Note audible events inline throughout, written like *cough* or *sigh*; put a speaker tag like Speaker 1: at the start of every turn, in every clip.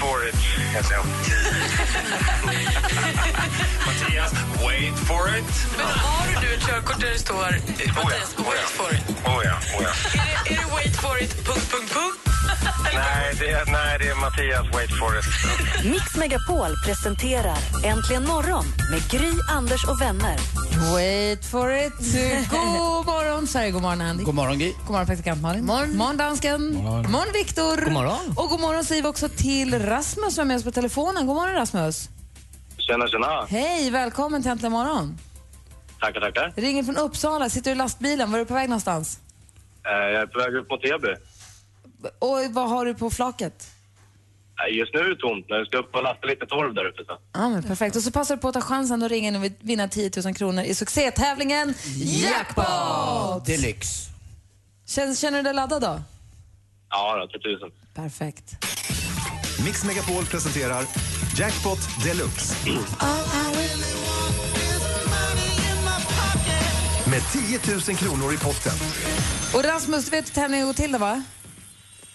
Speaker 1: for it, heter jag. *laughs* Mattias, wait for it.
Speaker 2: Men har du nu ett körkort där det står eh, Mattias,
Speaker 1: Oh ja, oh ja.
Speaker 2: wait for it?
Speaker 1: Oh ja, oh ja.
Speaker 2: Är det, är det wait for it, punkt, punkt, punkt?
Speaker 1: Nej, det är, nej, det är Mattias, wait for it.
Speaker 3: Mix Megapol presenterar Äntligen morgon med Gry, Anders och vänner.
Speaker 4: Wait for it. God morgon, Sverige. God morgon, Andy. God morgon, Gry. God morgon, praktikant Malin. Morgon, morgon dansken. morgon, Viktor. God morgon. Och god morgon säger vi också till Rasmus som är med oss på telefonen. God morgon, Rasmus.
Speaker 1: Tjena, tjena.
Speaker 4: Hej, välkommen till Äntligen morgon.
Speaker 1: Tackar, tackar.
Speaker 4: Ringer från Uppsala. Sitter du i lastbilen? Var är du på väg någonstans?
Speaker 1: Eh, Jag är på väg upp mot Heby.
Speaker 4: Och vad har du på flaket?
Speaker 1: Nej, Eh, Just nu är det tomt, men jag ska upp och lasta lite torv där uppe sen.
Speaker 4: Ja, men perfekt. Och så passar du på att ta chansen att ringa in och vinna 10 000 kronor i succétävlingen Jackpot!
Speaker 5: Deluxe.
Speaker 4: Känner, känner du dig laddad då?
Speaker 1: Ja, då, 3000.
Speaker 4: Perfekt.
Speaker 6: Mix Megapol presenterar Jackpot Deluxe. Med 10 000 kronor i potten.
Speaker 4: Och Rasmus, du vet hur tävlingen går till då, va?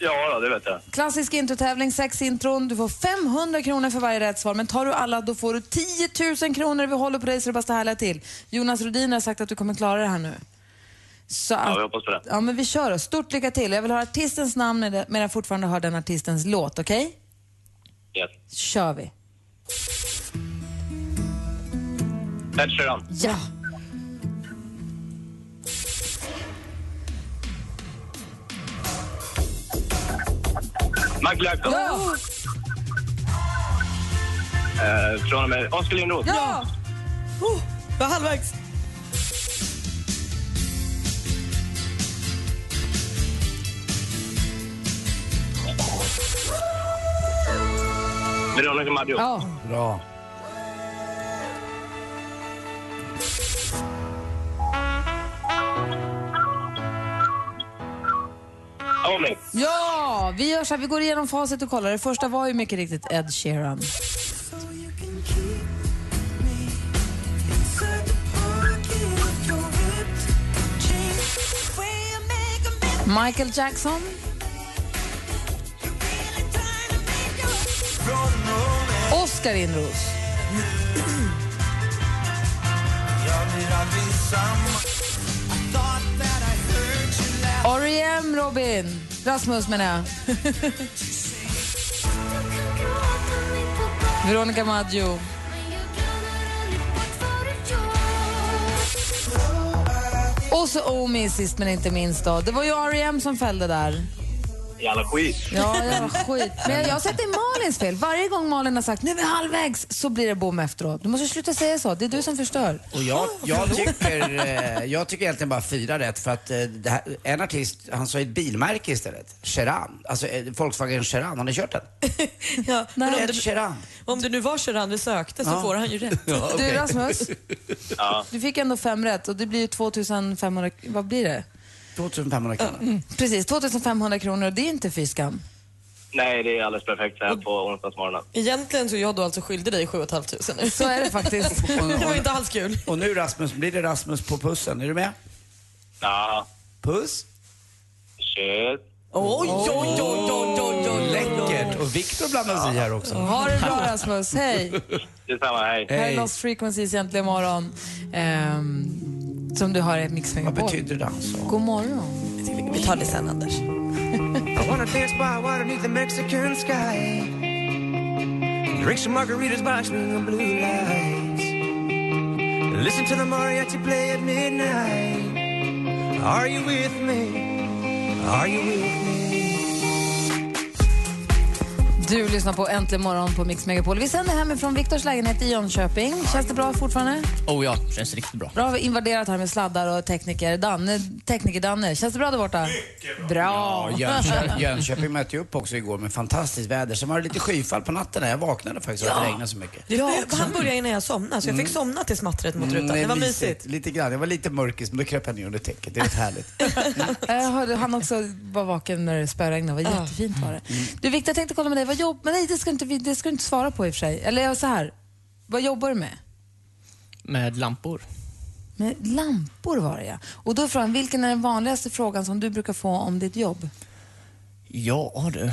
Speaker 1: Ja, då, det vet jag.
Speaker 4: Klassisk introtävling, sex intron. Du får 500 kronor för varje rätt svar. Men tar du alla då får du 10 000 kronor. Vi håller på dig så det bara står härliga till. Jonas Rodin har sagt att du kommer klara det här nu. Så att,
Speaker 1: Ja, vi hoppas på det.
Speaker 4: ja, men vi kör då. Stort lycka till. Jag vill höra artistens namn med- medan jag fortfarande hör den artistens låt, okej?
Speaker 1: Yes.
Speaker 4: kör vi.
Speaker 1: Thatcheran.
Speaker 4: Ja.
Speaker 1: McLaughlin.
Speaker 4: Ja!
Speaker 1: Eh, Från och med Oskar Lindroth.
Speaker 4: Ja! Oh, jag är halvvägs.
Speaker 1: Veronica Maggio.
Speaker 4: Ja.
Speaker 5: Bra.
Speaker 1: Omi.
Speaker 4: ja, vi gör så här. Vi går igenom facit och kollar. Det första var ju mycket riktigt Ed Sheeran. Michael Jackson. Oskar Inros. R.E.M. E Robin. Rasmus menar jag. Veronica Maggio. Och så Omi sist men inte minst då. Det var ju R.E.M. som fällde där.
Speaker 1: Jävla skit.
Speaker 4: Ja, jävla skit. Men jag har sett det är Malins fel. Varje gång Malin har sagt nu är vi halvvägs så blir det bom efteråt. Du måste sluta säga så. Det är du som förstör.
Speaker 5: Och jag, jag, tycker, eh, jag tycker egentligen bara fyra rätt för att eh, det här, en artist, han sa ett bilmärke istället. Cheran. Alltså eh, Volkswagen Cheran, har ni kört den?
Speaker 2: Ja, men
Speaker 4: Nej.
Speaker 2: om
Speaker 5: Ed
Speaker 2: det,
Speaker 5: Sheeran.
Speaker 2: om det nu var Sheeran vi sökte så
Speaker 5: Ja.
Speaker 2: får han ju rätt.
Speaker 5: Ja,
Speaker 4: Du
Speaker 5: okej.
Speaker 4: Rasmus,
Speaker 1: Ja.
Speaker 4: du fick ändå fem rätt och det blir ju 2500, vad blir det?
Speaker 5: 2500 kronor.
Speaker 2: Mm.
Speaker 4: Precis, 2500 kronor och det är inte fy skam.
Speaker 1: Nej, det är alldeles perfekt så här på onsdagsmorgonen.
Speaker 2: Egentligen så är jag då alltså skyldig dig 7 500 nu.
Speaker 4: Så är det faktiskt.
Speaker 2: *laughs* Det var inte alls kul.
Speaker 5: Och nu Rasmus, blir det Rasmus på pussen? Är du med?
Speaker 1: Ja.
Speaker 5: Puss.
Speaker 1: Shit.
Speaker 2: Oj, oj, oj, oj, oj, oj, oj.
Speaker 5: Läckert. Och Viktor blandas i här också.
Speaker 4: Ha det bra Rasmus, hej!
Speaker 1: Detsamma, hej.
Speaker 4: Här är
Speaker 5: Hej.
Speaker 4: Lost Frequencies egentligen imorgon. Ehm, som du har i Mix
Speaker 5: Vad
Speaker 4: Megapol.
Speaker 5: betyder det han sa?
Speaker 4: God morgon.
Speaker 2: Vi tar det sen, Anders.
Speaker 7: I wanna dance by water beneath the Mexican sky. Drink some margaritas by swinging blue lights. Listen to the mariachi play at midnight. Are you with me? Are you with me?
Speaker 4: Du lyssnar på Äntligen morgon på Mix Megapol. Vi sänder hemifrån Viktors lägenhet i Jönköping. Känns det bra fortfarande?
Speaker 8: Oh ja, känns riktigt bra.
Speaker 4: Bra har vi invaderat här med sladdar och tekniker. Danne, tekniker Danne, känns det bra där borta? Mycket bra.
Speaker 5: Ja, Jönköping, Jönköping mötte ju upp också igår med fantastiskt väder. Sen var det lite skyfall på natten. här. Jag vaknade faktiskt av att det regnade så mycket. Mm.
Speaker 2: Ja, han började innan jag somnade så jag fick somna till smattret mot rutan. Det var mysigt.
Speaker 5: Lite grann. Jag var lite mörkis, men då kröp jag ner under täcket. Det är rätt
Speaker 2: *laughs*
Speaker 5: härligt.
Speaker 4: Jag Eh, hörde, han också var vaken när det spöregnade. Det var jättefint var det.
Speaker 5: Mm.
Speaker 4: Du Victor, jag tänkte kolla med dig. Vad jobb... Men nej, det ska, du inte, vi- det ska du inte svara på i och för sig. Eller ja, så här. Vad jobbar du med?
Speaker 8: Med lampor.
Speaker 4: Med lampor var det ja. Och då är frågan, vilken är den vanligaste frågan som du brukar få om ditt jobb?
Speaker 8: Ja du.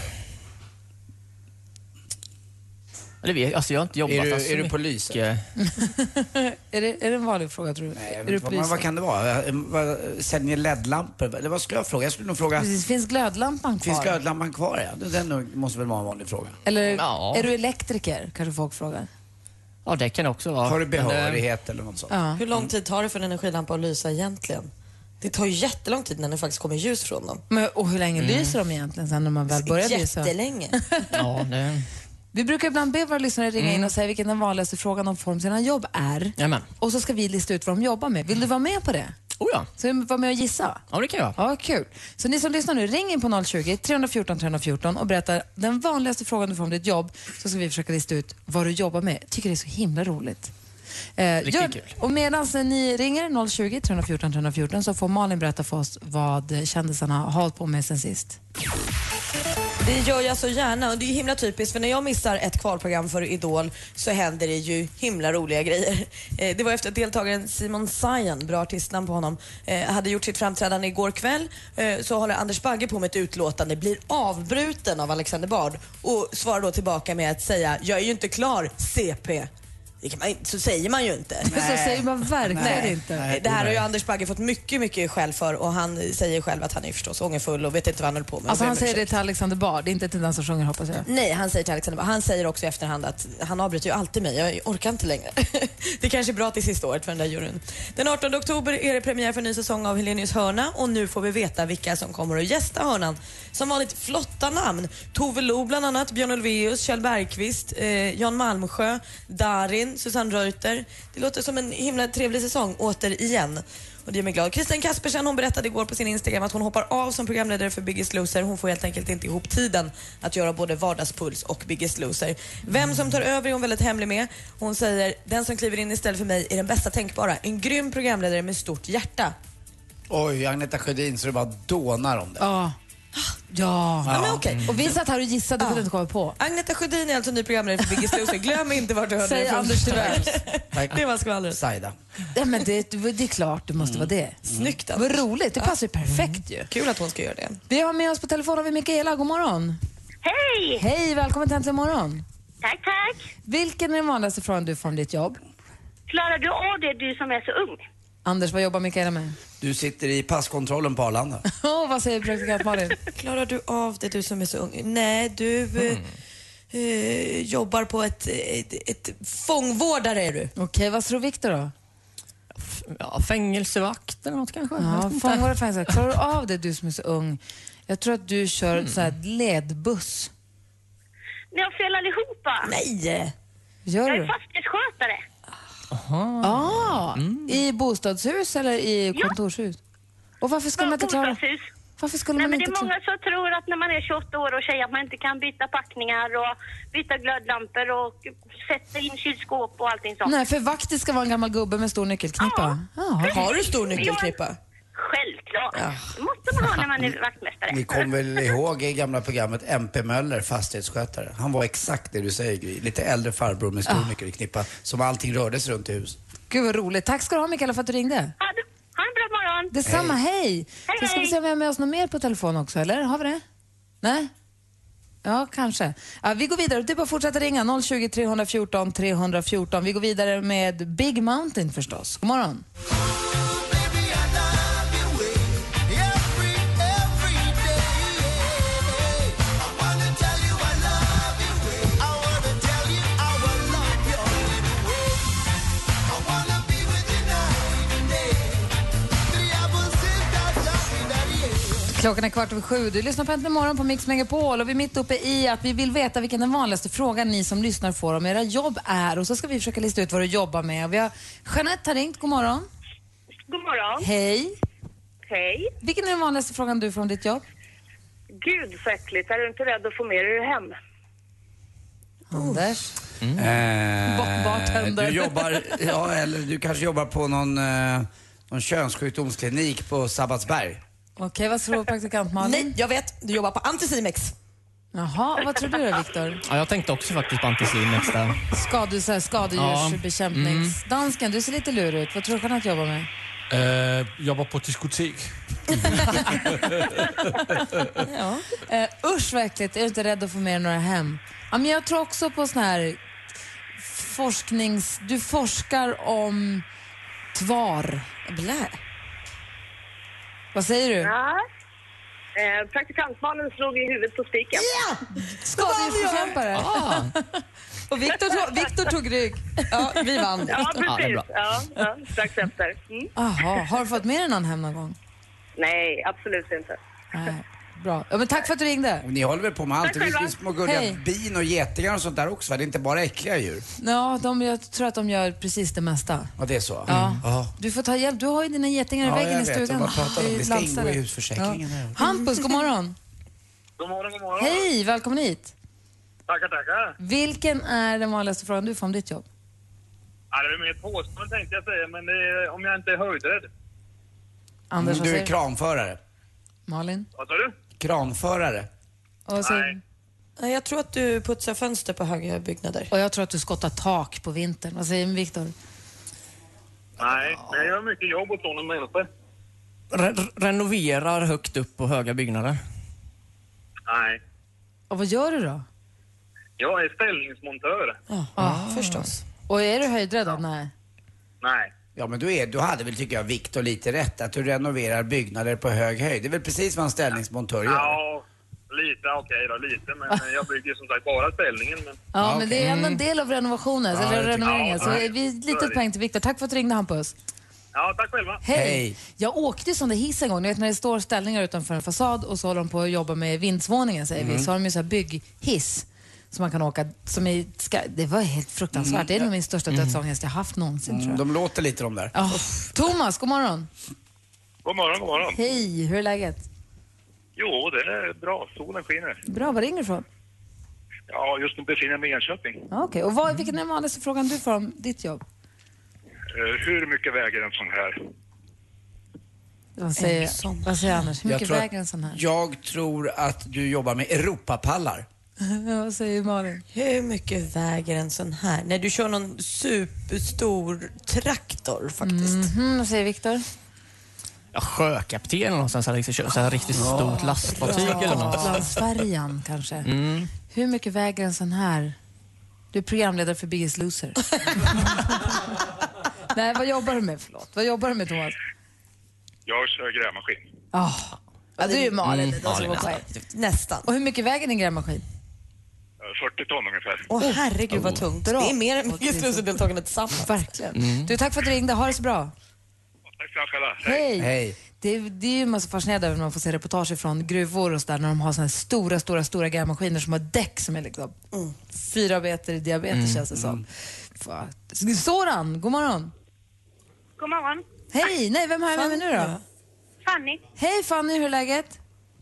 Speaker 8: Eller vet, alltså jag har inte jobbat
Speaker 5: Är du-
Speaker 8: fast så
Speaker 5: är du
Speaker 8: mycket.
Speaker 5: polis,
Speaker 4: är, det, är det en vanlig fråga tror du? Nej,
Speaker 5: Jag
Speaker 4: är du
Speaker 5: vet inte Eh, vad, vad kan det vara? Eh, vad- Säljer LED-lampor? Eller vad skulle jag fråga? Jag skulle nog fråga...
Speaker 2: Mm.
Speaker 4: Precis, finns glödlampan kvar?
Speaker 5: Finns glödlampan kvar? Ja. Det- Den nog- måste väl vara en vanlig fråga.
Speaker 4: Eller är du elektriker? Kanske folk frågar.
Speaker 8: Ja, det kan det också vara.
Speaker 5: Har du
Speaker 8: Men, eh,
Speaker 5: behörighet eller något sånt?
Speaker 2: Hur lång tid tar det för en energilampa att lysa egentligen? Det tar ju jättelång tid när det faktiskt kommer ljus från dem.
Speaker 4: Men, och hur länge
Speaker 2: Mm.
Speaker 4: lyser de egentligen sen när man väl börjar lysa?
Speaker 2: Jättelänge.
Speaker 8: *laughs* Ja, det...
Speaker 4: Vi brukar ibland be våra lyssnare ringa in och säga vilken den vanligaste frågan de får om sina jobb är.
Speaker 8: Mm. Jajamän.
Speaker 4: Och så ska vi lista ut vad de jobbar med. Vill du vara med på det?
Speaker 8: Oh ja.
Speaker 4: Så var med och gissa?
Speaker 8: Ja, det kan jag.
Speaker 4: Ja, kul. Så ni som lyssnar nu, ring in på 020 314 314 och berätta den vanligaste frågan du får om ditt jobb så ska vi försöka lista ut vad du jobbar med. Jag tycker det är så himla roligt. Eh,
Speaker 8: Riktigt
Speaker 4: gör-
Speaker 8: kul.
Speaker 4: Och medan ni ringer 020 314 314 så får Malin berätta för oss vad kändisarna har hållit på med sen sist.
Speaker 2: Det gör jag så gärna och det är himla typiskt för när jag missar ett kvalprogram för Idol så händer det ju himla roliga grejer. *laughs* Eh, Det var efter att deltagaren Simon Sajen, bra artistnamn på honom, eh, hade gjort sitt framträdande igår kväll eh, så håller Anders Bagge på med ett utlåtande, blir avbruten av Alexander Bard och svarar då tillbaka med att säga “Jag är ju inte klar, CP”. Det kan man, inte- så säger man ju inte.
Speaker 4: Så säger man verkligen inte.
Speaker 2: Det här har ju Anders Bagge fått mycket, mycket skäll för och han säger själv att han är förstås ångerfull och vet inte vad han höll på med.
Speaker 4: Alltså
Speaker 2: Och ber
Speaker 4: han
Speaker 2: om
Speaker 4: säger
Speaker 2: ursäkt.
Speaker 4: det till Alexander Bard, inte till den som sjunger hoppas jag.
Speaker 2: Nej, han säger till Alexander Han säger också i efterhand att han avbryter ju alltid mig. Jag orkar inte längre. *laughs* det kanske är bra till sista året för den där juryn. Den 18 oktober är det premiär för en ny säsong av Helenius hörna och nu får vi veta vilka som kommer att gästa hörnan. Som vanligt flotta namn. Tove Lo bland annat, Björn Ulvaeus, Kjell Bergqvist, eh, Jan Malmsjö, Darin, Susanne Reuter. Det låter som en himla trevlig säsong återigen. Och det gör mig glad. Kristin Kaspersen hon berättade igår på sin Instagram att hon hoppar av som programledare för Biggest Loser. Hon får helt enkelt inte ihop tiden att göra både Vardagspuls och Biggest Loser. Vem som tar över är hon väldigt hemlig med. Hon säger den som kliver in istället för mig är den bästa tänkbara. En grym programledare med stort hjärta.
Speaker 5: Oj, Agneta Sjödin så det bara dånar om det.
Speaker 4: Ja. Ja.
Speaker 5: Ja, men okej.
Speaker 4: Och vi satt här och gissade, det kunde inte komma på.
Speaker 2: Agneta Sjödin är alltså ny programledare för Biggest Loser. Glöm inte vart du hörde
Speaker 4: Säg
Speaker 2: det från.
Speaker 4: Anders Tivells.
Speaker 5: Tack.
Speaker 2: Det var skvallret.
Speaker 5: Saida.
Speaker 4: Ja, men det, det är klart det måste vara det.
Speaker 2: Snyggt
Speaker 4: Mm.
Speaker 2: alltså.
Speaker 4: Vad roligt, det passar ju perfekt ju.
Speaker 2: Kul att hon ska göra det.
Speaker 4: Vi har med oss på telefon har vi Mikaela, god morgon. Hej! Hej, välkommen till Äntligen morgon.
Speaker 9: Tack, tack.
Speaker 4: Vilken är den vanligaste frågan du får om ditt jobb?
Speaker 9: Klarar du av det, du som är så ung?
Speaker 4: Anders, vad jobbar Mikaela med?
Speaker 5: Du sitter i passkontrollen på Arlanda.
Speaker 4: Åh, vad säger praktikant Malin?
Speaker 2: Klarar du av det du som är så ung? Nej, du
Speaker 4: Mm.
Speaker 2: eh, eh, jobbar på ett, ett, ett fångvårdare är du.
Speaker 4: Okej, vad tror Viktor då?
Speaker 8: Ja, fängelsevakt eller något kanske. Jag vet
Speaker 4: Ja,
Speaker 8: inte.
Speaker 4: fång våra fängelser. Klarar du av det du som är så ung? Jag tror att du kör så här ledbuss.
Speaker 9: Ni har fel allihopa.
Speaker 2: Nej!
Speaker 4: Gör
Speaker 9: Jag
Speaker 4: du?
Speaker 9: är fastighetsskötare.
Speaker 4: Ah, I bostadshus eller i
Speaker 9: Ja.
Speaker 4: kontorshus? Och varför skulle
Speaker 9: Bara
Speaker 4: man inte klara...
Speaker 9: bostadshus.
Speaker 4: Varför skulle
Speaker 9: Nej,
Speaker 4: man
Speaker 9: men det
Speaker 4: inte
Speaker 9: är många som tror att när man är 28 år och tjej att man inte kan byta packningar och byta glödlampor och sätta in kylskåp och allting sånt.
Speaker 4: Nej, för vaktis ska vara en gammal gubbe med stor nyckelknippa. Ja.
Speaker 2: Ah. Har du stor nyckelknippa?
Speaker 9: Självklart. Det måste man ha när man är vaktmästare.
Speaker 5: Ni kommer väl ihåg i gamla programmet MP Möller, fastighetsskötare. Han var exakt det du säger Gry. Lite äldre farbror med
Speaker 4: Ah.
Speaker 5: stor nyckelknippa som allting rördes runt i huset.
Speaker 4: Gud vad roligt. Tack ska du ha Mikaela för att du ringde.
Speaker 9: Ha, det- ha en bra morgon.
Speaker 4: Detsamma, hej.
Speaker 9: Hej,
Speaker 4: Så ska vi
Speaker 9: hej.
Speaker 4: se om vi har med oss något mer på telefon också, eller? Har vi det? Nej? Ja, kanske. Ja, vi går vidare. Det är bara att fortsätta ringa. 020 314 314. Vi går vidare med Big Mountain förstås. God morgon. Klockan är kvart över sju. Du lyssnar på Äntligen morgon på Mix Megapol och vi är mitt uppe i att vi vill veta vilken den vanligaste frågan ni som lyssnar får om era jobb är och så ska vi försöka lista ut vad du jobbar med. Vi har Jeanette har ringt. God morgon.
Speaker 9: God morgon.
Speaker 4: Hej.
Speaker 9: Hej.
Speaker 4: Vilken är den vanligaste frågan du får om ditt jobb?
Speaker 9: Gud så äckligt. Är du inte rädd att få med dig hem?
Speaker 4: Anders?
Speaker 5: Eh,
Speaker 4: Bort- bartender.
Speaker 5: Du
Speaker 4: *laughs*
Speaker 5: jobbar, ja eller du kanske jobbar på någon, eh, någon könssjukdomsklinik på Sabbatsberg.
Speaker 4: Okej, vad tror praktikant Malin?
Speaker 2: Nej, jag vet. Du jobbar på Anticimex.
Speaker 4: Jaha, vad tror du då Viktor?
Speaker 8: Ja, jag tänkte också faktiskt på antislimex där.
Speaker 4: Skade, så här, skadedjursbekämpnings... Dansken,
Speaker 8: mm.
Speaker 4: du ser lite lurig ut. Vad tror du Jeanette jobbar med?
Speaker 10: Uh, jobbar på diskotek.
Speaker 4: *laughs* Ja. Eh, usch vad äckligt. Är du inte rädd att få med dig några hem? Ja, men jag tror också på sån här forsknings... Du forskar om tvar. Blä. Vad säger du?
Speaker 9: Ja. Eh, praktikantmannen slog i huvudet på spiken. Ja!
Speaker 4: Skadedjursbekämpare.
Speaker 9: Ah.
Speaker 4: Och Viktor tog, Viktor tog rygg. Ja, vi vann.
Speaker 9: Ja, precis. Ja, ja, strax efter. Mm.
Speaker 4: Aha, har du fått med dig någon hem någon gång?
Speaker 9: Nej, absolut inte.
Speaker 4: Nej. Bra. Ja, men tack för att du ringde.
Speaker 5: Ni håller väl på med allt?
Speaker 4: Tack
Speaker 5: Det finns
Speaker 4: själva.
Speaker 5: ju små gulliga
Speaker 4: Hej.
Speaker 5: bin och getingar och sånt där också va? Det är inte bara äckliga djur.
Speaker 4: Ja, de, jag tror att de gör precis det mesta.
Speaker 5: Ja, det är så? Mm.
Speaker 4: Ja.
Speaker 5: Ja.
Speaker 4: Du får ta hjälp. Du har ju dina getingar i
Speaker 5: Ja,
Speaker 4: väggen
Speaker 5: jag
Speaker 4: i
Speaker 5: vet. Jag
Speaker 4: stugan.
Speaker 5: bara pratar om det. Det ska
Speaker 4: lansar
Speaker 5: ingå i
Speaker 4: det.
Speaker 5: husförsäkringen.
Speaker 4: Ja. Hampus, god morgon.
Speaker 1: God morgon, god morgon.
Speaker 4: Hej, välkommen hit.
Speaker 1: Tackar, tackar.
Speaker 4: Vilken är den vanligaste frågan du får om ditt jobb?
Speaker 1: Ja, det var mer ett påstående tänkte jag säga, men det är, om jag inte är höjdrädd.
Speaker 4: Anders, vad
Speaker 5: Mm, du
Speaker 4: säger
Speaker 5: är
Speaker 4: du?
Speaker 5: kranförare.
Speaker 4: Malin?
Speaker 1: Vad sa du?
Speaker 5: Kranförare.
Speaker 4: Nej.
Speaker 2: Jag tror att du putsar fönster på höga byggnader.
Speaker 4: Och jag tror att du skottar tak på vintern. Vad säger Viktor?
Speaker 1: Nej, men jag gör mycket jobb åt sådana människor.
Speaker 8: Re renoverar högt upp på höga byggnader.
Speaker 1: Nej,
Speaker 4: Och vad gör du då?
Speaker 1: jag är ställningsmontör.
Speaker 4: Ja, förstås. Ah. Och är du höjdrädd då? Nej.
Speaker 1: Nej.
Speaker 5: Ja men du, är, du hade väl tycker jag Viktor lite rätt att du renoverar byggnader på hög höjd. Det är väl precis vad en ställningsmontör gör?
Speaker 1: Ja, lite okej då, lite. Men jag bygger som sagt bara ställningen. Men...
Speaker 4: Ja, men det är ändå en del av renovationen,
Speaker 1: Ja,
Speaker 4: eller
Speaker 1: det tycker
Speaker 4: renoveringen.
Speaker 1: jag.
Speaker 4: Så
Speaker 1: Ja,
Speaker 4: vi
Speaker 1: nej. Så är
Speaker 4: litet
Speaker 1: det.
Speaker 4: poäng till Viktor. Tack för att du ringde Hampus.
Speaker 1: Ja, tack själva.
Speaker 4: Hej. Jag åkte ju sån där hiss en gång. Ni vet när det står ställningar utanför en fasad och så håller de på att jobba med vindsvåningen säger vi.
Speaker 11: Mm.
Speaker 4: Så har de ju så här bygghiss som man kan åka. Som är, ska, det var helt fruktansvärt.
Speaker 5: Mm.
Speaker 4: Det är nog min största
Speaker 5: Mm.
Speaker 4: dödsångest jag haft någonsin
Speaker 5: Mm,
Speaker 4: tror jag.
Speaker 5: de låter lite de där.
Speaker 4: Oh. Thomas, god morgon.
Speaker 1: God morgon, god morgon.
Speaker 4: Hej, hur är läget?
Speaker 1: Jo, det är bra. Solen skiner.
Speaker 4: Bra, var ringer du ifrån?
Speaker 1: Ja, just nu befinner jag mig i Enköping.
Speaker 4: Ja, Okej, och vad, vilken är den vanligaste frågan du får om ditt jobb?
Speaker 1: Eh, Hur mycket väger en sån här?
Speaker 4: Vad säger, vad säger Anders? Hur
Speaker 5: Jag
Speaker 4: mycket
Speaker 5: tror att-
Speaker 4: väger en sån här? *laughs*
Speaker 5: Jag tror att du jobbar med Europapallar.
Speaker 4: vad säger Malin?
Speaker 2: Hur mycket väger en sån här? Nej, du kör någon superstor traktor faktiskt.
Speaker 4: Mhm, vad säger Viktor?
Speaker 8: Ja, sjökapten eller något sånt. Så här riktigt, så här riktigt stort lastfartyg eller något.
Speaker 4: Gotlandsfärjan kanske?
Speaker 8: Mm.
Speaker 4: Hur mycket väger en sån här? Du är programledare för Biggest *laughs* Loser. Nej, vad jobbar du med? Förlåt. Vad jobbar du med, Thomas?
Speaker 1: Jag kör grävmaskin.
Speaker 4: Oh. Ja, du är ju Malin.
Speaker 1: Mm,
Speaker 4: det är du som
Speaker 1: Malin,
Speaker 4: får poäng.
Speaker 2: Nästan.
Speaker 4: Och hur mycket väger din grävmaskin?
Speaker 1: Eh, 40 ton ungefär.
Speaker 2: Åh herregud vad tungt.
Speaker 4: Bra.
Speaker 2: Det är mer än just Lusse-deltagarna tillsammans.
Speaker 4: Verkligen.
Speaker 1: Mm.
Speaker 4: Du, tack för att du ringde. Ha det så bra.
Speaker 1: Tack ska ni ha själva.
Speaker 4: Hej. Det, är- det är ju man så fascinerad över när man får se reportage från gruvor och sådär när de har såna här stora, stora, stora grävmaskiner som har däck som är liksom fyra meter i diabetes
Speaker 11: Mm,
Speaker 4: känns det som. Mm. Soran, god morgon.
Speaker 9: God morgon.
Speaker 4: Hej! Nej, vem har jag med mig nu då?
Speaker 9: Fanny.
Speaker 4: Hej Fanny, hur är läget?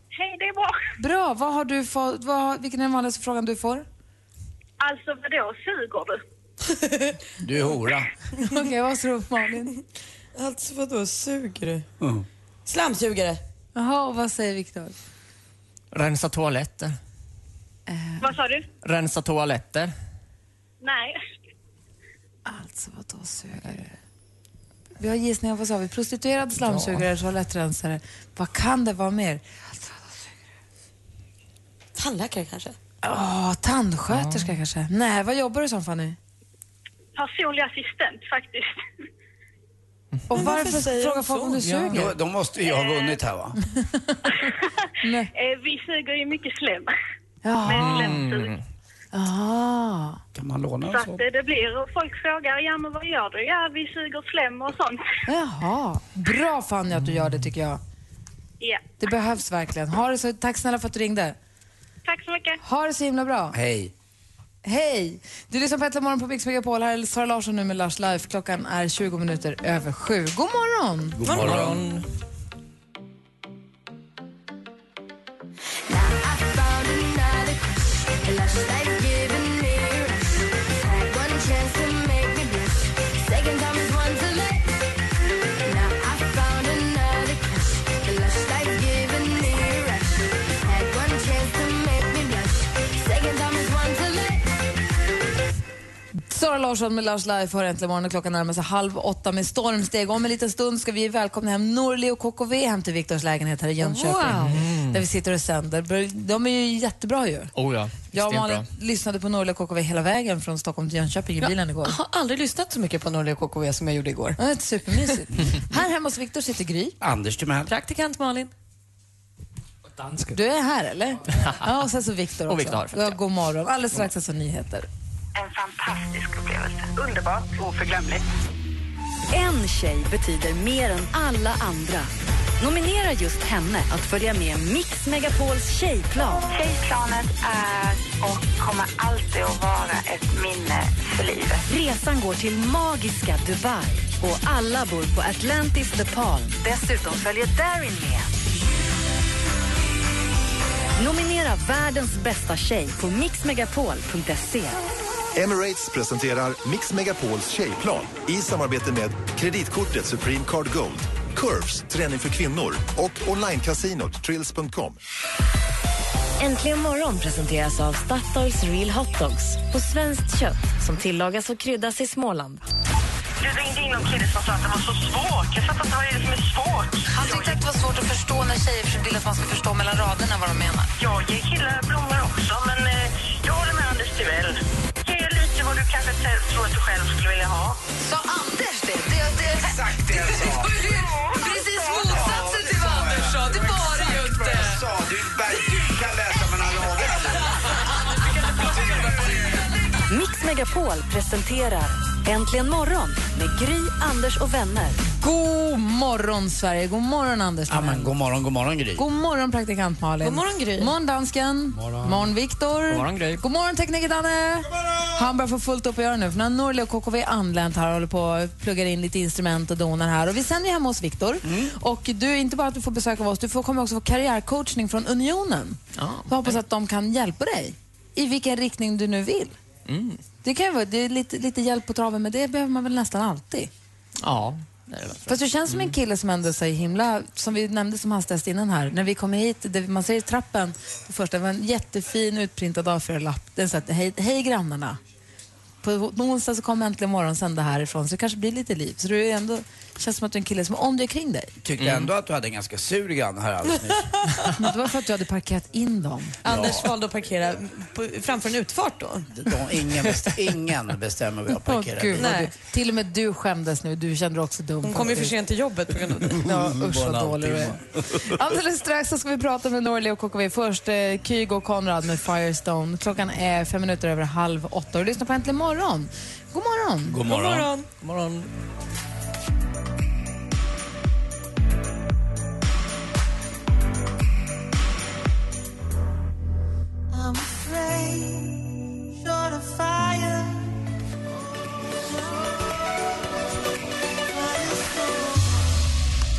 Speaker 9: Hej, det är bra.
Speaker 4: Bra, vad har du fått, vad, har- vilken är den vanligaste frågan du får?
Speaker 9: Alltså vadå, suger du?
Speaker 5: Du är hora.
Speaker 4: Okej, vad tror du Malin?
Speaker 2: Alltså vadå, suger du?
Speaker 5: Mm.
Speaker 2: Slamsugare.
Speaker 4: Jaha, och vad säger Viktor?
Speaker 8: Rensa toaletter.
Speaker 9: Vad sa du?
Speaker 8: Rensa toaletter.
Speaker 9: Nej.
Speaker 4: Alltså vadå sugare? Vi har gissningar, vad sa vi? Prostituerad, slamsugare, toalettrensare. Vad kan det vara mer? Alltså,
Speaker 2: Tandläkare kanske?
Speaker 4: Åh, tandsköterska kanske? Nej, vad jobbar du som Fanny?
Speaker 9: Personlig assistent faktiskt.
Speaker 4: Och
Speaker 9: Men varför
Speaker 4: varför,
Speaker 9: säger de
Speaker 4: frågar folk
Speaker 9: så?
Speaker 4: om du
Speaker 5: Ja.
Speaker 4: suger?
Speaker 5: Då, då måste ju jag ha vunnit här va?
Speaker 9: Eh, vi suger ju mycket slem.
Speaker 4: Ja.
Speaker 9: Men slemsug.
Speaker 4: Ah.
Speaker 5: Kan man låna
Speaker 9: Så att eh, det blir, folk frågar, ja men vad gör du? Ja, vi suger slem och sånt.
Speaker 4: Jaha. Bra Fanny att du gör det tycker jag.
Speaker 9: Ja.
Speaker 4: Det behövs verkligen. Ha det så, tack snälla för att du ringde.
Speaker 9: Tack så mycket.
Speaker 4: Ha det så himla bra.
Speaker 5: Hej.
Speaker 4: Hej! Du lyssnar på Äntligen morgon på Mix Megapol. Här är Sara Larsson nu med Lars Life. Klockan är 20 minuter över sju. God morgon!
Speaker 11: God morgon. God morgon.
Speaker 4: Sara Larsson med Lars Life har Äntligen morgon och klockan närmar sig halv åtta med stormsteg. Om en liten stund ska vi välkomna hem Norli och KKV hem till Viktors lägenhet här i Jönköping.
Speaker 8: Wow. Mm.
Speaker 4: Där vi sitter och sänder. De är ju jättebra ju.
Speaker 8: Oh ja,
Speaker 4: Jag
Speaker 8: extremt
Speaker 4: och
Speaker 8: bra.
Speaker 4: Malin lyssnade på Norli och KKV hela vägen från Stockholm till Jönköping i bilen igår.
Speaker 12: Jag har aldrig lyssnat så mycket på Norli och KKV som jag gjorde igår.
Speaker 4: Det är
Speaker 12: *laughs*
Speaker 4: supermysigt. här hemma hos Viktor sitter Gry.
Speaker 5: Anders Timell.
Speaker 4: Praktikant Malin. Du är
Speaker 5: *laughs*
Speaker 4: här eller? Ja, och sen så Viktor också.
Speaker 5: Och Viktor Harfeldt,
Speaker 4: ja, god morgon. Alldeles strax alltså nyheter.
Speaker 13: En fantastisk upplevelse. Underbart, oförglömligt.
Speaker 3: En tjej betyder mer än alla andra. Nominera just henne att följa med Mix Megapols tjejplan.
Speaker 13: Tjejplanet är och kommer alltid att vara ett minne för livet.
Speaker 3: Resan går till magiska Dubai och alla bor på Atlantis The Palm. Dessutom följer Darin med. Nominera världens bästa tjej på mixmegapol.se.
Speaker 6: Emirates presenterar Mix Megapols tjejplan i samarbete med kreditkortet Supreme Card Gold, Curves, träning för kvinnor och onlinekasinot Trills.com.
Speaker 14: Äntligen morgon presenteras av Statoils Real Hot Dogs på svenskt kött som tillagas och kryddas i Småland.
Speaker 13: Du ringde in någon kille som sa att han var så svag. Jag fattar inte vad det är som är svagt.
Speaker 4: Han tyckte att det var svårt att förstå när tjejer vill att man ska förstå mellan raderna vad de menar.
Speaker 13: Jag ger killar blommor också, men eh, jag håller med Anders Timell. Ge lite vad du kanske t- tror att du själv skulle vilja ha.
Speaker 4: Sa Anders det? det, det Exakt det jag sa. Precis motsatsen till vad Anders sa. Det var det ju inte.
Speaker 7: Du, du kan läsa mellan
Speaker 3: Mix Megapol presenterar Äntligen morgon med Gry, Anders och vänner.
Speaker 4: God morgon, Sverige. God morgon, Anders.
Speaker 5: Ja, men, god morgon, god morgon Gry.
Speaker 4: God morgon, praktikant Malin.
Speaker 5: God morgon, Gry.
Speaker 4: morgon, dansken.
Speaker 5: morgon.
Speaker 4: Viktor.
Speaker 5: God morgon, Gry.
Speaker 4: God morgon, tekniker Danne. Han börjar få fullt upp att göra nu, för när Norli och KKV anlänt här och håller på och pluggar in lite instrument och donar här. Och vi sänder ju hemma hos Viktor.
Speaker 5: Mm.
Speaker 4: Och du, inte bara att du får besök av oss, du får, kommer också få karriärcoachning från Unionen. Så hoppas att de kan hjälpa dig i vilken riktning du nu vill.
Speaker 8: Mm.
Speaker 4: Det kan ju vara det är lite, lite hjälp på traven, men det behöver man väl nästan alltid.
Speaker 8: Ja, det är det väl.
Speaker 4: Fast du känns som en kille som ändå säger himla, som vi nämnde som hastigast innan här, när vi kommer hit, det, man ser i trappen, det första var en jättefin utprintad A4-lapp. Den satt hej, hej grannarna. På, på onsdag så kommer äntligen morgon sända härifrån, så det kanske blir lite liv. Så du är ändå, känns som att du är en kille som är om dig kring dig.
Speaker 5: Tyckte ändå att du hade en ganska sur granne här alldeles nyss.
Speaker 4: Men det var för att du hade parkerat in dem.
Speaker 2: Anders valde att parkera på, framför en utfart då.
Speaker 5: *laughs* De, ingen, best, ingen bestämmer var jag
Speaker 4: Åh,
Speaker 5: parkerar.
Speaker 4: Gud, vad
Speaker 5: Nej.
Speaker 4: du, till och med du skämdes nu, du kände dig också dum.
Speaker 2: Hon kom ju för sent till jobbet på grund av det.
Speaker 4: *laughs* Ja, usch vad dålig du är. Alldeles
Speaker 2: Alldeles
Speaker 4: strax så ska vi prata med Norli och KKV. Först eh, Kygo och Konrad med Firestone. Klockan är fem minuter över halv åtta och lyssna på Äntligen morgon. God morgon!
Speaker 8: God morgon. God morgon.
Speaker 4: God morgon.
Speaker 11: I'm afraid short of fire.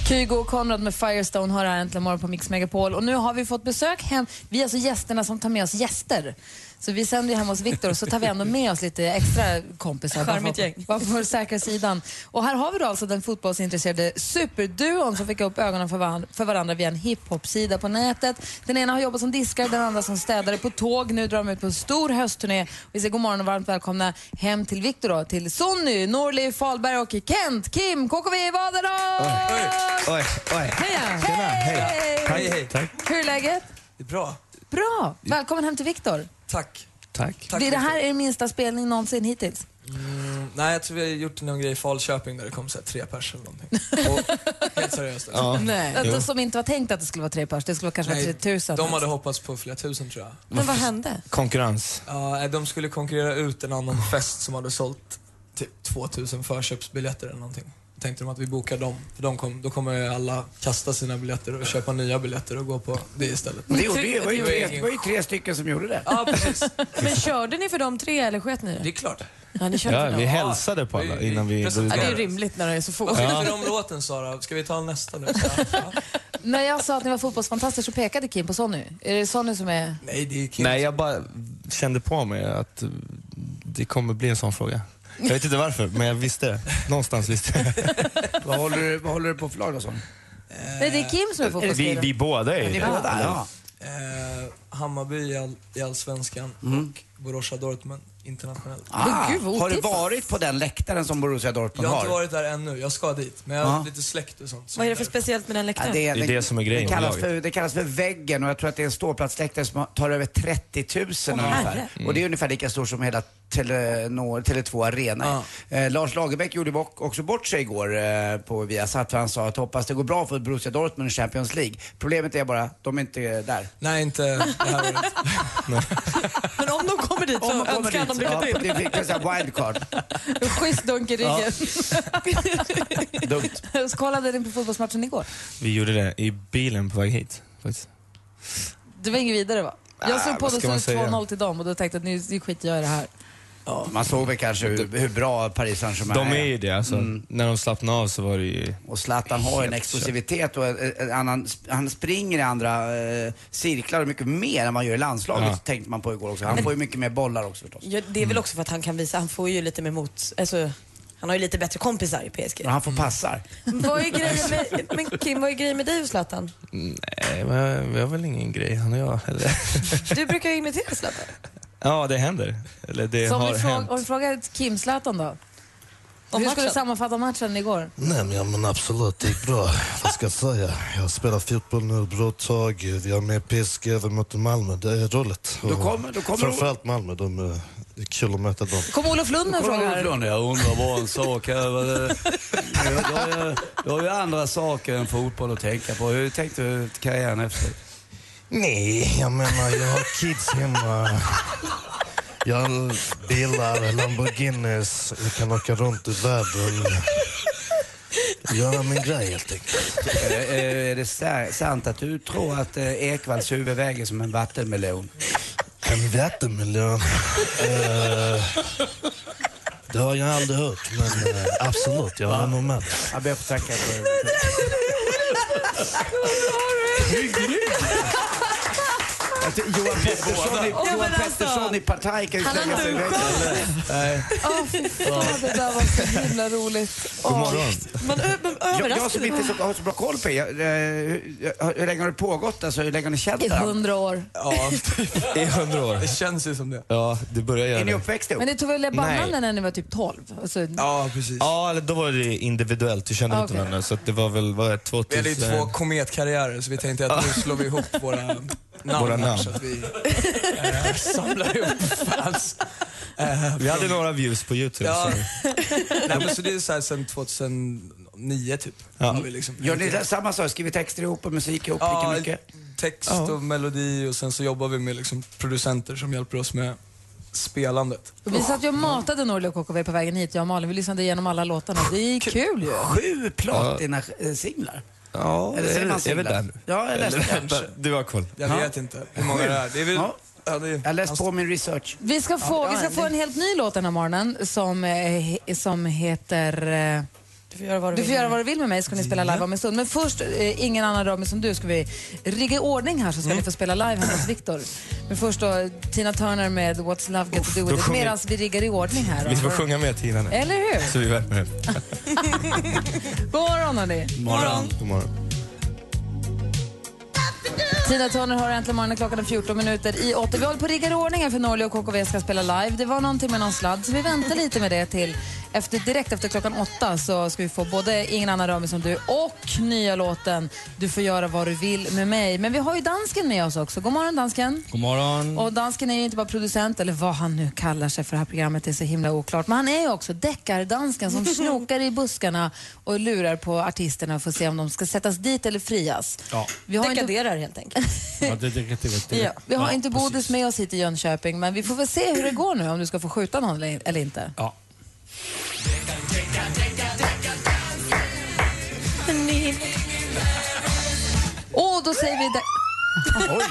Speaker 4: Kygo och Konrad med Firestone har här Äntligen morgon på Mix Megapol. Och nu har vi fått besök hem. Vi är alltså gästerna som tar med oss gäster. Så vi sänder ju hem hos Viktor och så tar vi ändå med oss lite extra kompisar.
Speaker 2: Charmigt
Speaker 4: Bara för-
Speaker 2: gäng.
Speaker 4: Bara för säkra sidan. Och här har vi då alltså den fotbollsintresserade superduon som fick upp ögonen för, varan- för varandra via en hiphop-sida på nätet. Den ena har jobbat som diskare, den andra som städare på tåg. Nu drar de ut på en stor höstturné. Vi säger god morgon och varmt välkomna hem till Viktor då, till Sonny, Norli, Falberg och Kent, Kim, KKV, Vaderdal!
Speaker 15: Oj, oj.
Speaker 4: Heja!
Speaker 15: Tjena, hej.
Speaker 4: Hej!
Speaker 15: Hej, hej. Tack.
Speaker 4: Hur är läget?
Speaker 15: Det är bra.
Speaker 4: Bra! Välkommen hem till Viktor.
Speaker 15: Tack. Tack.
Speaker 4: Det, det här är din minsta spelning någonsin hittills.
Speaker 15: Mm, nej, jag tror vi har gjort någon grej i Falköping där det kom så här tre pers eller någonting. Och, helt seriöst. alltså.
Speaker 4: Alltså, som inte var tänkt att det skulle vara tre pers, det skulle vara kanske vara
Speaker 15: Nej,
Speaker 4: 3000.
Speaker 15: De hade hoppats på flera tusen tror jag.
Speaker 4: Men vad hände?
Speaker 16: Konkurrens.
Speaker 15: Ja, nej,
Speaker 5: *laughs*
Speaker 15: de skulle konkurrera ut en annan fest som hade sålt typ 2000 förköpsbiljetter eller någonting. tänkte de att vi bokar dem. För de kom, då kommer ju alla kasta sina biljetter och köpa nya biljetter och gå på det istället.
Speaker 5: Det gjorde ju- det var ju-
Speaker 15: Det var
Speaker 5: det var ju tre stycken som gjorde det.
Speaker 15: Ja,
Speaker 4: *laughs*
Speaker 15: precis.
Speaker 12: Men körde ni för de tre eller sket ni
Speaker 15: Det är klart.
Speaker 12: Ja, ni körde
Speaker 16: Ja,
Speaker 12: för dem.
Speaker 16: vi hälsade på alla innan vi drog
Speaker 12: Ja, det är
Speaker 16: igång.
Speaker 12: rimligt när det är så få.
Speaker 15: Vad tyckte du om låten Sara? Ska vi ta nästa nu?
Speaker 4: *laughs* När jag sa att ni var fotbollsfantaster så pekade Kim på Sonny. Är det Sonny som är...
Speaker 15: Nej, det är
Speaker 16: Nej, jag bara kände på mig att eh, det kommer bli en sån fråga. Jag vet inte varför, men jag visste det. Någonstans visste jag.
Speaker 5: Vad håller, du- vad håller du på för lag då? Son?
Speaker 4: Nej, det är Kim som är fotbollsspelare.
Speaker 16: Eh, Vi, vi båda är
Speaker 5: Ni
Speaker 16: ju
Speaker 5: båda,
Speaker 16: det.
Speaker 5: ja.
Speaker 15: Eh, Hammarby i, all, i Allsvenskan
Speaker 5: Mm.
Speaker 15: och Borussia Dortmund internationellt.
Speaker 5: Ah, har du varit på den läktaren som Borussia Dortmund
Speaker 15: Jag har inte
Speaker 5: har?
Speaker 15: varit där ännu. Jag ska dit. Men jag har
Speaker 5: Ja.
Speaker 15: lite släkt och sånt. som
Speaker 2: Vad är det
Speaker 15: där.
Speaker 2: för speciellt med den läktaren?
Speaker 5: Ja,
Speaker 16: Det är det som är grejen
Speaker 5: Det kallas,
Speaker 16: med laget.
Speaker 5: för, det kallas för väggen och jag tror att det är en ståplatsläktare som tar över 30 000 ungefär.
Speaker 16: herre. Mm.
Speaker 5: Och det är ungefär lika stor som hela Telenor, Tele2 Arena. Eh, Lars Lagerbäck gjorde bo- också bort sig igår eh, på Viasat för han sa att hoppas det går bra för Borussia Dortmund i Champions League. Problemet är bara, de är inte där.
Speaker 15: Nej, inte det här året.
Speaker 2: Men om de kommer dit
Speaker 5: Om
Speaker 2: så
Speaker 5: de kommer
Speaker 2: önskar jag dem
Speaker 5: dit,
Speaker 2: lycka
Speaker 5: ja,
Speaker 2: till.
Speaker 5: det fick jag säga wildcard.
Speaker 4: Schysst dunk i ryggen. *laughs*
Speaker 16: Dumt.
Speaker 4: Så kollade ni på fotbollsmatchen igår?
Speaker 16: Vi gjorde det i bilen på väg hit. Faktiskt.
Speaker 4: Det var inget vidare va?
Speaker 16: Ah,
Speaker 4: Jag såg på det
Speaker 16: vad ska
Speaker 4: stod
Speaker 16: man säga?
Speaker 4: 2-0 till dem och då tänkte jag att nu, nu skiter jag i det här.
Speaker 5: Man såg väl kanske hur, hur bra Paris Saint-Germain
Speaker 16: De är ju det alltså. När de slappnade av så var det ju...
Speaker 5: Och Zlatan har en explosivitet och en, en annan, han springer i andra eh, cirklar mycket mer än man gör i landslaget
Speaker 16: Ja.
Speaker 5: tänkte man på igår också. Han får ju mycket mer bollar också förstås.
Speaker 2: Ja, det är väl också för att han kan visa, han får ju lite mer mot, alltså, han har ju lite bättre kompisar i PSG.
Speaker 5: Men
Speaker 17: Mm.
Speaker 5: han får passar.
Speaker 2: Vad är grejen med, men Kim, vad är grejen med dig och Zlatan?
Speaker 16: Nej, men vi har väl ingen grej han och jag. Eller?
Speaker 2: Du brukar ju imitera Zlatan.
Speaker 16: Ja, det händer. Eller det
Speaker 4: Så om
Speaker 16: har
Speaker 4: vi, fråga,
Speaker 16: hänt.
Speaker 4: om vi frågar Kim Zlatan då? Hur skulle
Speaker 2: matchen?
Speaker 4: du sammanfatta matchen
Speaker 16: Mm.
Speaker 4: igår?
Speaker 18: Nej, men, ja, men absolut, det gick bra. Vad ska jag säga? Jag har spelat fotboll nu ett bra tag. Vi har med PSG även mot Malmö. Det är roligt.
Speaker 5: Då kommer- då kommer-
Speaker 18: Framförallt Malmö. De, eh, det är kul att möta dem.
Speaker 4: Kom Olof Lund med en fråga här? *laughs*
Speaker 17: Jag undrar bara en sak här. Vad
Speaker 5: *laughs*
Speaker 17: det- Jag har ju- jag har ju andra saker än fotboll att tänka på. Hur tänkte du karriären efter?
Speaker 18: Nej, jag menar jag har kids hemma. Jag har bilar, Lamborghinis. Jag kan åka runt i världen. Göra min grej helt enkelt.
Speaker 5: Är det, är- är det sa- sant att du tror att eh, Ekvalls huvud väger som en vattenmelon?
Speaker 18: En vattenmelon? Eh, det har jag aldrig hört, men eh, absolut, jag håller med.
Speaker 5: Jag ber att få tacka för Att Johan Pettersson i,
Speaker 4: Ja, men
Speaker 5: Johan
Speaker 4: alltså.
Speaker 5: Pettersson i Partaj kan ju
Speaker 4: Han har
Speaker 5: slänga sig i
Speaker 4: inte
Speaker 5: väggen. Nej.
Speaker 4: Åh, fy fan, det där var så himla roligt.
Speaker 5: God morgon.
Speaker 2: Men, ö- men
Speaker 5: Jag, jag som
Speaker 2: överraskade
Speaker 5: inte så, har så bra koll på er, jag, eh, hur, hur, hur länge har det pågått? Alltså, hur länge har ni känt
Speaker 4: I
Speaker 5: varandra?
Speaker 4: hundra år.
Speaker 15: Ja,
Speaker 16: I hundra år.
Speaker 15: Det känns ju som det.
Speaker 16: Ja, det börjar göra
Speaker 5: Är ni
Speaker 16: det.
Speaker 5: uppväxta ihop?
Speaker 4: Men ni tog väl bananen
Speaker 16: Nej.
Speaker 4: när ni var typ 12? Alltså,
Speaker 15: Ja, precis.
Speaker 16: Ja, eller då var det individuellt. Vi kände
Speaker 4: Ah,
Speaker 16: inte
Speaker 4: okej.
Speaker 16: varandra. Så att det var väl, vad är det,
Speaker 15: Vi
Speaker 16: 2000...
Speaker 15: hade ju två kometkarriärer så vi tänkte att nu slår vi ihop våra namn. här,
Speaker 16: Våra namn.
Speaker 15: Så att vi eh, samlar ihop fans. Eh,
Speaker 16: Vi hade några views på YouTube.
Speaker 15: Ja.
Speaker 16: Så.
Speaker 15: Nej, men så det är så här sen 2009 typ.
Speaker 16: Ja.
Speaker 15: Har vi liksom,
Speaker 5: Gör ni samma sak? Skriver texter ihop och musik ihop
Speaker 15: Ja,
Speaker 5: lika mycket?
Speaker 15: text och melodi och sen så jobbar vi med liksom producenter som hjälper oss med spelandet.
Speaker 4: Vi satt ju och matade Norli och KKV på vägen hit, jag och Malin. Vi lyssnade igenom alla låtarna. Det är kul ju.
Speaker 5: Sju
Speaker 15: eh,
Speaker 5: platina-singlar?
Speaker 16: Ja,
Speaker 5: Eller säger man
Speaker 16: är väl
Speaker 5: singlar?
Speaker 16: där nu?
Speaker 5: Ja, eller
Speaker 16: Eller
Speaker 5: nästan.
Speaker 16: vänta, *laughs* Du har koll.
Speaker 15: Jag vet inte hur många det är. det är väl,
Speaker 5: Ja. Jag läste på min research.
Speaker 4: Vi ska få,
Speaker 5: Ja,
Speaker 4: vi ska
Speaker 5: ja,
Speaker 4: få en helt ny låt den här morgonen som, eh, he, som heter... eh,
Speaker 2: Du får göra vad du,
Speaker 4: Du får
Speaker 2: vill.
Speaker 4: göra vad du vill med mig ska ni spela live om en stund. Men först, eh, ingen annan rör mig som du, ska vi rigga i ordning här så ska ni få spela live hemma hos Viktor. Men först då Tina Turner med What's Love Got To Do
Speaker 16: då
Speaker 4: With It
Speaker 16: sjunger-
Speaker 4: medan vi riggar i ordning här.
Speaker 16: Vi får sjunga med Tina nu.
Speaker 4: Eller hur?
Speaker 16: Så vi värmer upp.
Speaker 4: God morgon hörni.
Speaker 16: God morgon.
Speaker 4: Tina Turner har äntligen morgonen klockan är 14 minuter i 8. Vi håller på och riggar i ordningen för Norli och KKV ska spela live. Det var någonting med någon sladd så vi väntar lite med det till efter, direkt efter klockan 8 så ska vi få både Ingen annan rör mig som du och nya låten Du får göra vad du vill med mig. Men vi har ju dansken med oss också. God morgon dansken.
Speaker 19: God morgon.
Speaker 4: Och dansken är ju inte bara producent, eller vad han nu kallar sig för det här programmet, det är så himla oklart. Men han är ju också deckardansken
Speaker 2: *laughs*
Speaker 4: som snokar i buskarna och lurar på artisterna för att se om de ska sättas dit eller frias.
Speaker 19: Ja,
Speaker 4: Vi har
Speaker 2: Dekaderar helt enkelt.
Speaker 19: ja det, det, det vet du.
Speaker 4: *laughs* Ja, vi har
Speaker 19: Ja,
Speaker 4: inte Bodis med oss hit i Jönköping, men vi får väl se hur det går nu om du ska få skjuta någon eller- eller inte.
Speaker 19: Ja.
Speaker 4: säger vi...
Speaker 5: Oj!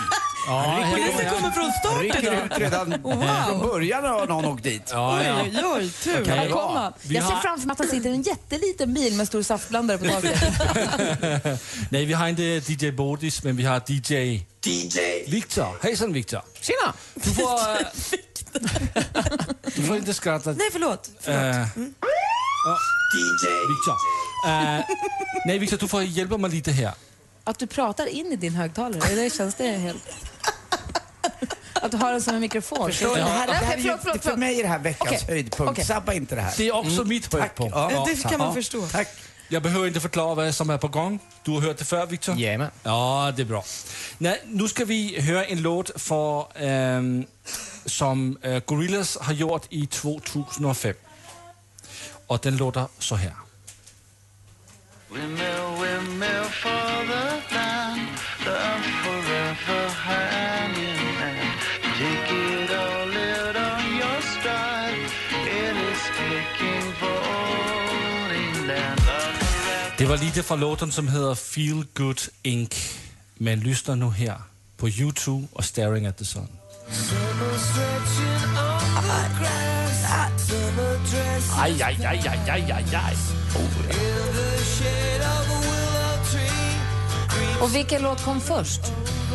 Speaker 2: Ja,
Speaker 5: Rycker
Speaker 2: polisen
Speaker 5: ut-
Speaker 2: kommer från starten
Speaker 5: Rycker
Speaker 2: då.
Speaker 5: ut redan
Speaker 2: Wow.
Speaker 5: från början har någon åkt dit.
Speaker 2: Oj, oj, oj, tur.
Speaker 5: Vad kan det
Speaker 2: Här kom
Speaker 5: vara?
Speaker 2: han.
Speaker 5: Vi
Speaker 4: Jag ser
Speaker 5: har-
Speaker 4: framför mig att han sitter i en jätteliten bil med stor saftblandare på *laughs* taket.
Speaker 19: Nej, vi har inte DJ Bodis, men vi har DJ... DJ! Viktor. Hejsan Viktor. Tjena! Du får... eh, du får inte skratta.
Speaker 2: Nej, förlåt.
Speaker 19: Eh, ja. Viktor. Eh, nej, Viktor, du får hjälpa mig lite här.
Speaker 4: Att du pratar in i din högtalare, eller känns det helt... Att du har den som en mikrofon.
Speaker 5: Förstår ni?
Speaker 4: Ja.
Speaker 5: Det här, det här är
Speaker 4: Förlåt,
Speaker 5: ju,
Speaker 4: förlåt,
Speaker 5: för mig är det här veckans
Speaker 4: Okej.
Speaker 5: höjdpunkt.
Speaker 4: Okej.
Speaker 5: Sabba inte det här.
Speaker 19: Det är också
Speaker 5: Mm.
Speaker 19: mitt höjdpunkt.
Speaker 5: Ja,
Speaker 19: Ja,
Speaker 5: det
Speaker 19: tack.
Speaker 5: kan man
Speaker 19: Ja.
Speaker 5: förstå.
Speaker 19: Tack. Jag behöver inte förklara vad som är på gång. Du har hört det förr, Victor? Jajamän. Ja, det är bra. Nej, nu ska vi höra en låt för, ehm, som eh, Gorillaz har gjort i 2005. Och den låter så här.
Speaker 11: Windmill, windmill for the land that I'm forever hanging and take it all out on your stride. It is kicking, falling down.
Speaker 19: Det var lite från låten som heter Feel Good Inc. Men lyssna nu här på YouTube och Staring at the Sun.
Speaker 11: Summer stretching on the grass. Summer dressing.
Speaker 19: Aj, aj, aj, aj, aj, aj, aj.
Speaker 11: In the shade of a willow tree.
Speaker 4: Och vilken låt kom först?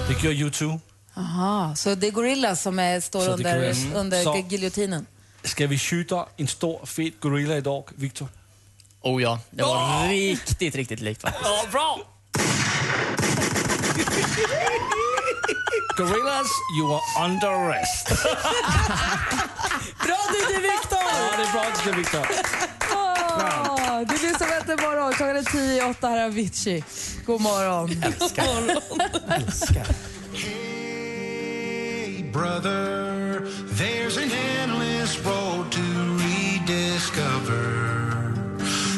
Speaker 19: Det gör YouTube.
Speaker 4: Aha, så det är Gorillaz som är, står
Speaker 19: Så det är
Speaker 4: under,
Speaker 19: Gorillaz.
Speaker 4: under
Speaker 19: Så-
Speaker 4: giljotinen?
Speaker 19: Ska vi skjuta en stor fet gorilla idag, Victor?
Speaker 8: Oh ja, det var riktigt, riktigt likt faktiskt.
Speaker 19: Ja, bra! Gorillas, you are under arrest.
Speaker 4: Bra DJ Viktor!
Speaker 19: Ja, det är bra DJ Victor.
Speaker 4: Åh, Ah, det blir som ett imorgon. Klockan är tio i åtta. Här är Avicii. God morgon.
Speaker 11: Älskar.
Speaker 4: God morgon.
Speaker 11: brother, there's an endless road to rediscover.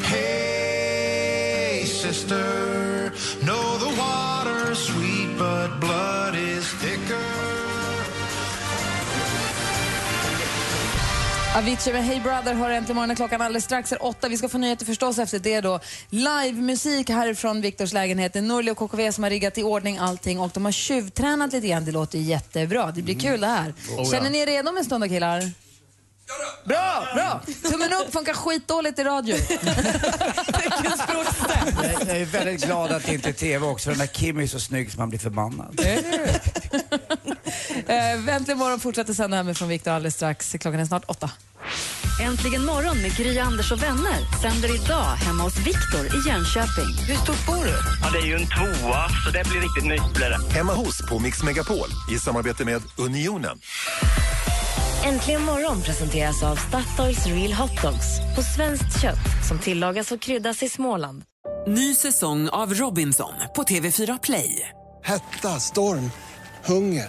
Speaker 11: Hey, sister, know the water's sweet, but blood is thicker.
Speaker 4: Avicii med Hey Brother hör äntligen morgonen. Klockan alldeles strax är åtta. Vi ska få nyheter förstås efter det då. Livemusik härifrån Viktors lägenhet. Det är Norli och KKV som har riggat i ordning allting och de har tjuvtränat lite grann. Det låter jättebra. Det blir kul det här.
Speaker 11: Oh, ja.
Speaker 4: Känner ni er redo om en stund då killar? Bra! Bra! Tummen upp funkar skitdåligt i radio.
Speaker 5: Jag jag är väldigt glad att det inte är TV också, för den där Kim är så snygg så man blir förbannad.
Speaker 4: Äh, äntligen morgon fortsätter sända hemifrån Viktor alldeles strax. Klockan är snart åtta.
Speaker 3: Äntligen morgon med Gry, Anders och vänner sänder idag hemma hos Viktor i Jönköping. Hur stort bor du?
Speaker 6: Ja, det är ju en tvåa, så det blir riktigt nytt blir det. Hemma hos på Mix Megapol i samarbete med Unionen.
Speaker 14: Äntligen morgon presenteras av Statoils Real Hot Dogs på svenskt kött som tillagas och kryddas i Småland.
Speaker 20: Ny säsong av Robinson på TV4 Play.
Speaker 21: Hetta, storm, hunger.